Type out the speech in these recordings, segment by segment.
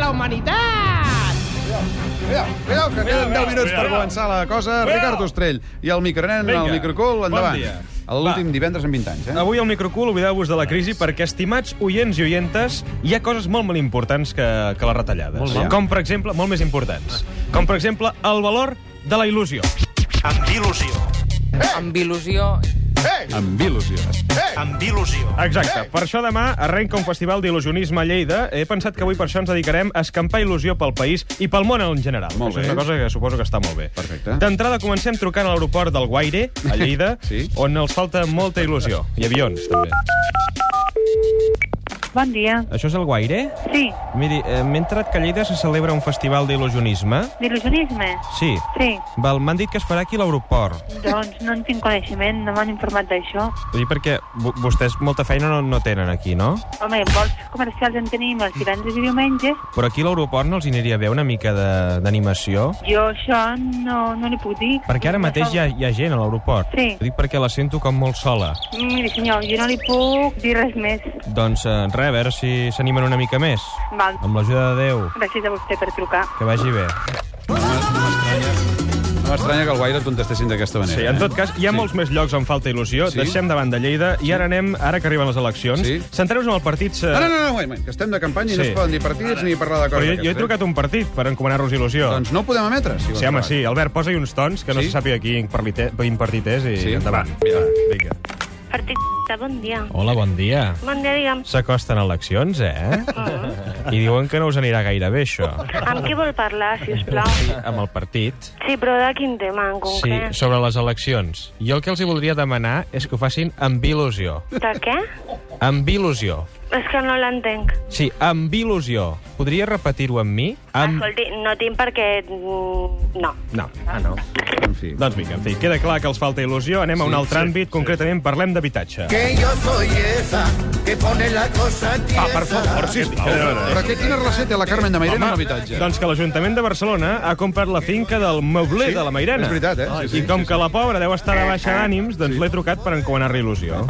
la humanitat! Cuidao, cuidao, que queden 10 minuts per cuidao. començar la cosa. Cuidao. Ricard Ostrell i el micronen, Vinga, el microcol, bon endavant. dia. L'últim Va. divendres en 20 anys, eh? Avui al Microcool oblideu-vos de la crisi perquè, estimats oients i oientes, hi ha coses molt molt importants que, que les retallades. Molt mal. Com, per exemple, molt més importants. Com, per exemple, el valor de la il·lusió. Amb il·lusió. Amb il·lusió... Amb il·lusió. Amb il·lusió. Exacte. Per això demà arrenca un festival d'il·lusionisme a Lleida. He pensat que avui per això ens dedicarem a escampar il·lusió pel país i pel món en general. Molt Això és bé. una cosa que suposo que està molt bé. Perfecte. D'entrada comencem trucant a l'aeroport del Guaire, a Lleida, Sí. on els falta molta il·lusió. I avions, també. Bon dia. Això és el Guaire? Sí, Miri, eh, m'he entrat que a Lleida se celebra un festival d'il·lusionisme. d'il·lusionisme? Sí. Sí. Val, m'han dit que es farà aquí a l'aeroport. Doncs no en tinc coneixement, no m'han informat d'això. Sí, perquè vo- vostès molta feina no, no tenen aquí, no? Home, en vols comercials en tenim els divendres i diumenges. Però aquí a l'aeroport no els hi aniria bé una mica de- d'animació? Jo això no, no li puc dir. Perquè ara mateix hi ha, hi ha gent a l'aeroport. Sí. Ho dic perquè la sento com molt sola. Miri, senyor, jo no li puc dir res més. Doncs eh, res, a veure si s'animen una mica més. Val, Amb l'ajuda de Déu. gràcies a vostè per trucar. Que vagi bé. No m'estranya que el Guaire et contestessin d'aquesta manera. eh? Sí, en tot cas, hi ha molts més llocs on falta il·lusió. Sí. Deixem davant de Lleida i ara anem, ara que arriben les eleccions, Sí. centreu-vos en el partit... eh, No, no, no, no, wait, wait, que estem de campanya i no Sí. es poden dir partits ni parlar de Però coses jo, jo he d'aquestes, trucat un partit per encomanar-vos eh? il·lusió. Doncs no ho podem emetre, si vols. Sí, home, acabar. sí. Albert, posa-hi uns tons, que no Sí? se sàpiga quin partit, quin partit és, i Sí? endavant. Va, mira. vinga. Partidista, bon dia. Hola, bon dia. Bon dia, digue'm. S'acosten eleccions, eh? I diuen que no us anirà gaire bé, això. Amb qui vol parlar, si us plau? Amb el partit. Sí, però de quin tema en Sí, concret? sobre les eleccions. Jo el que els hi voldria demanar és que ho facin amb il·lusió. De què? Amb il·lusió. És que no l'entenc. Sí, amb il·lusió. Podria repetir-ho amb mi? Amb... Escolti, no tinc perquè... mm, No. No, ah, no. En fi. Doncs vinga, en fi, queda clar que els falta il·lusió. Anem a un altre àmbit, concretament parlem d'habitatge. Que yo soy esa que pone la cosa tiesa. Ah, per favor, sisplau. Però que, quina relació té la Carmen de Mairena amb l'habitatge? Doncs que l'Ajuntament de Barcelona ha comprat la finca del Meuler Sí, de la Mairena. és veritat, eh? Sí, sí, I com sí, que la pobra deu estar de baixa d'ànims, doncs l'he trucat per encomanar-li il·lusió.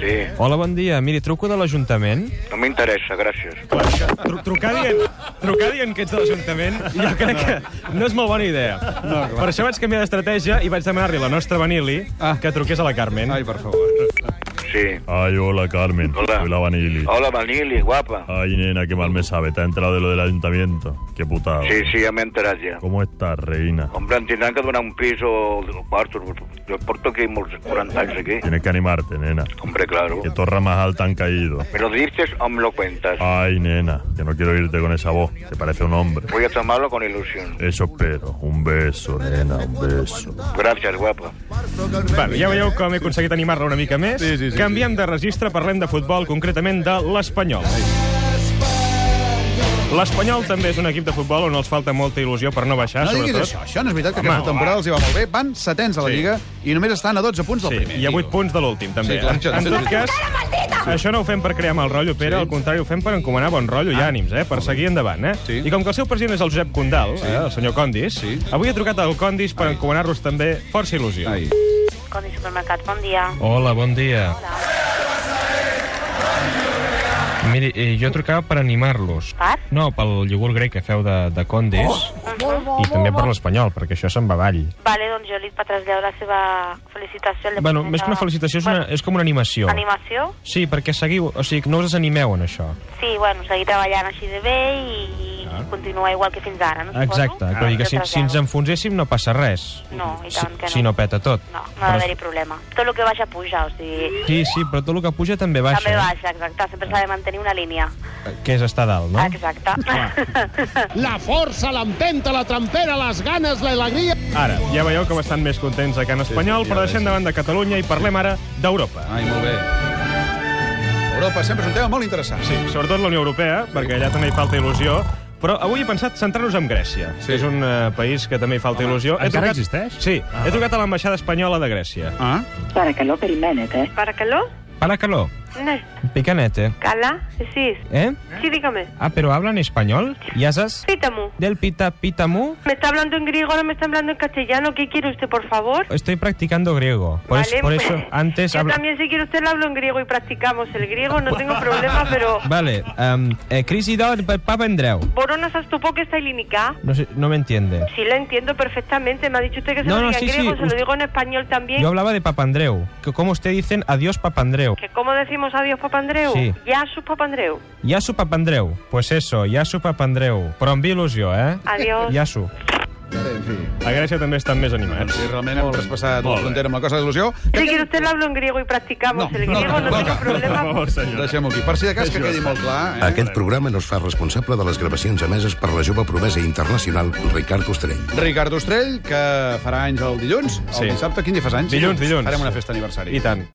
Sí, Hola, bon dia. Miri, truco de l'Ajuntament. no m'interessa, gràcies. Tru trucar, dient, trucar dient que ets de l'Ajuntament jo crec que no és molt bona idea. No, per això vaig canviar d'estratègia i vaig demanar-li a la nostra Vanili Ah. que truqués a la Carmen. Ai, per favor. Sí. Ay, hola Carmen. Hola. Oh. Soy la Vanilli. Hola, Vanilli, guapa. Ay, nena, qué mal me sabe. Te ha enterado de lo del ayuntamiento. Qué putada. Sí, sí, ja m'he enterat ja. ¿Cómo estás, reina? Hombre, em tindran que donar un pis o un quarto. Jo porto aquí molts 40 anys aquí. Tienes que animarte, nena. Hombre, claro. Que torras más alta han caído. Me lo dices o me lo cuentas. Ay, nena, que no quiero irte con esa voz. Te parece un hombre. Voy a tomarlo con ilusión. Eso espero. Un beso, nena, un beso. Gracias, guapa. Bueno, ja veieu com he aconseguit animar-la una mica més. Sí, sí, sí, Canviem de registre, parlem de futbol, concretament de l'Espanyol. L'Espanyol també és un equip de futbol on els falta molta il·lusió per no baixar, No diguis sobretot. això, això no és veritat que Home, aquesta temporada els hi va molt bé. Van setens a la Sí. Lliga i només estan a 12 punts del Sí, primer. i a 8 punts de l'últim, també. eh? Sí, clar, això en sí. tot cas, això no ho fem per crear mal rotllo, Pere, Sí. Ah, al contrari, ho fem per encomanar bon rotllo i ànims, eh? per seguir endavant. Eh? Sí. I com que el seu president és el Josep Condal, eh? el senyor Condis, Sí. avui he trucat al Condis per encomanar-los també força il·lusió. Ai. Condi Supermercat, bon dia. Hola, bon dia. Hola. Miri, eh, jo trucava per animar-los. Per? No, pel iogurt grec que feu de, de condis. Oh. I també per l'espanyol, perquè això se'n va avall. Vale, doncs jo li traslladeu la seva felicitació. al Bueno, departament més que una de- felicitació, és, una, Bueno, és com una animació. Animació? Sí, perquè seguiu, o sigui, que no us desanimeu en això. Sí, bueno, seguir treballant així de bé i, i continuar igual que fins ara, no suposo? Ah. Exacte, ah. vull dir que si, si ens enfonséssim no passa res. No, i Si, tant que no. si no peta tot. No, no ha Però- d'haver-hi problema. Tot el que baixa puja, o sigui... Sí, sí, però tot el que puja també baixa. eh? També baixa, exacte. Sempre s'ha de mantenir una línia. Que és estar dalt, no? Exacte. La força, l'empenta, la trampera, les ganes, l'alegria... Ara, ja veieu com estan més contents a Can Espanyol, sí, però ja deixem veig. davant de Catalunya i parlem ara d'Europa. Ai, molt bé. Europa sempre és un tema molt interessant. Sí, sobretot la Unió Europea, perquè allà també hi falta il·lusió. Però avui he pensat centrar-nos en Grècia, Sí. que és un eh, país que també hi falta il·lusió. He encara trucat- existeix? Sí, he trucat a l'ambaixada espanyola de Grècia. Ah? Para que lo perimenet, eh? per calor? Para calor. Picanete. Cala, decís. ¿Eh? Sí, dígame. Ah, pero hablan español. ¿Ya sabes? Pítamu. Del pita pitamu. Me está hablando en griego, ahora me está hablando en castellano. ¿Qué quiere usted, por favor? Estoy practicando griego. Por, es- Vale, por pues, eso antes Yo habla- también, si quiere usted, le hablo en griego y practicamos el griego. No tengo problema, pero... Vale, em, eh, Chris y Dor papendreu. Borona, ¿sabes tú por qué está ilínica? No, sé, no me entiende. Sí, la entiendo perfectamente. Me ha dicho usted que se No, lo no, diga sí, en griego, sí, se usted- lo digo en español también. Yo hablaba de papandreu. Que como usted dicen, adiós papandreu. ¿Que cómo decimos adiós, Papandreu? Sí. Ya sus Papandreu. Yasu papandreu. Pues eso, yasu papandreu. Però amb il·lusió, eh? Adiós. Yasu. En fi, A Grècia també estan més animats. si realment hem traspassat la Molt bé. frontera amb la cosa de l'il·lusió... Si quiere usted, le hablo en griego y practicamos el griego. No, tengo problema. Deixem-ho aquí. Per si de cas que quedi molt clar... Eh? Aquest programa no es fa responsable de les gravacions emeses per la jove promesa internacional Ricard Ostrell. Ricard Ostrell, que farà anys el dilluns, el Sí. dissabte. Quin dia fas anys? Dilluns, dilluns. Farem una festa aniversari. I tant.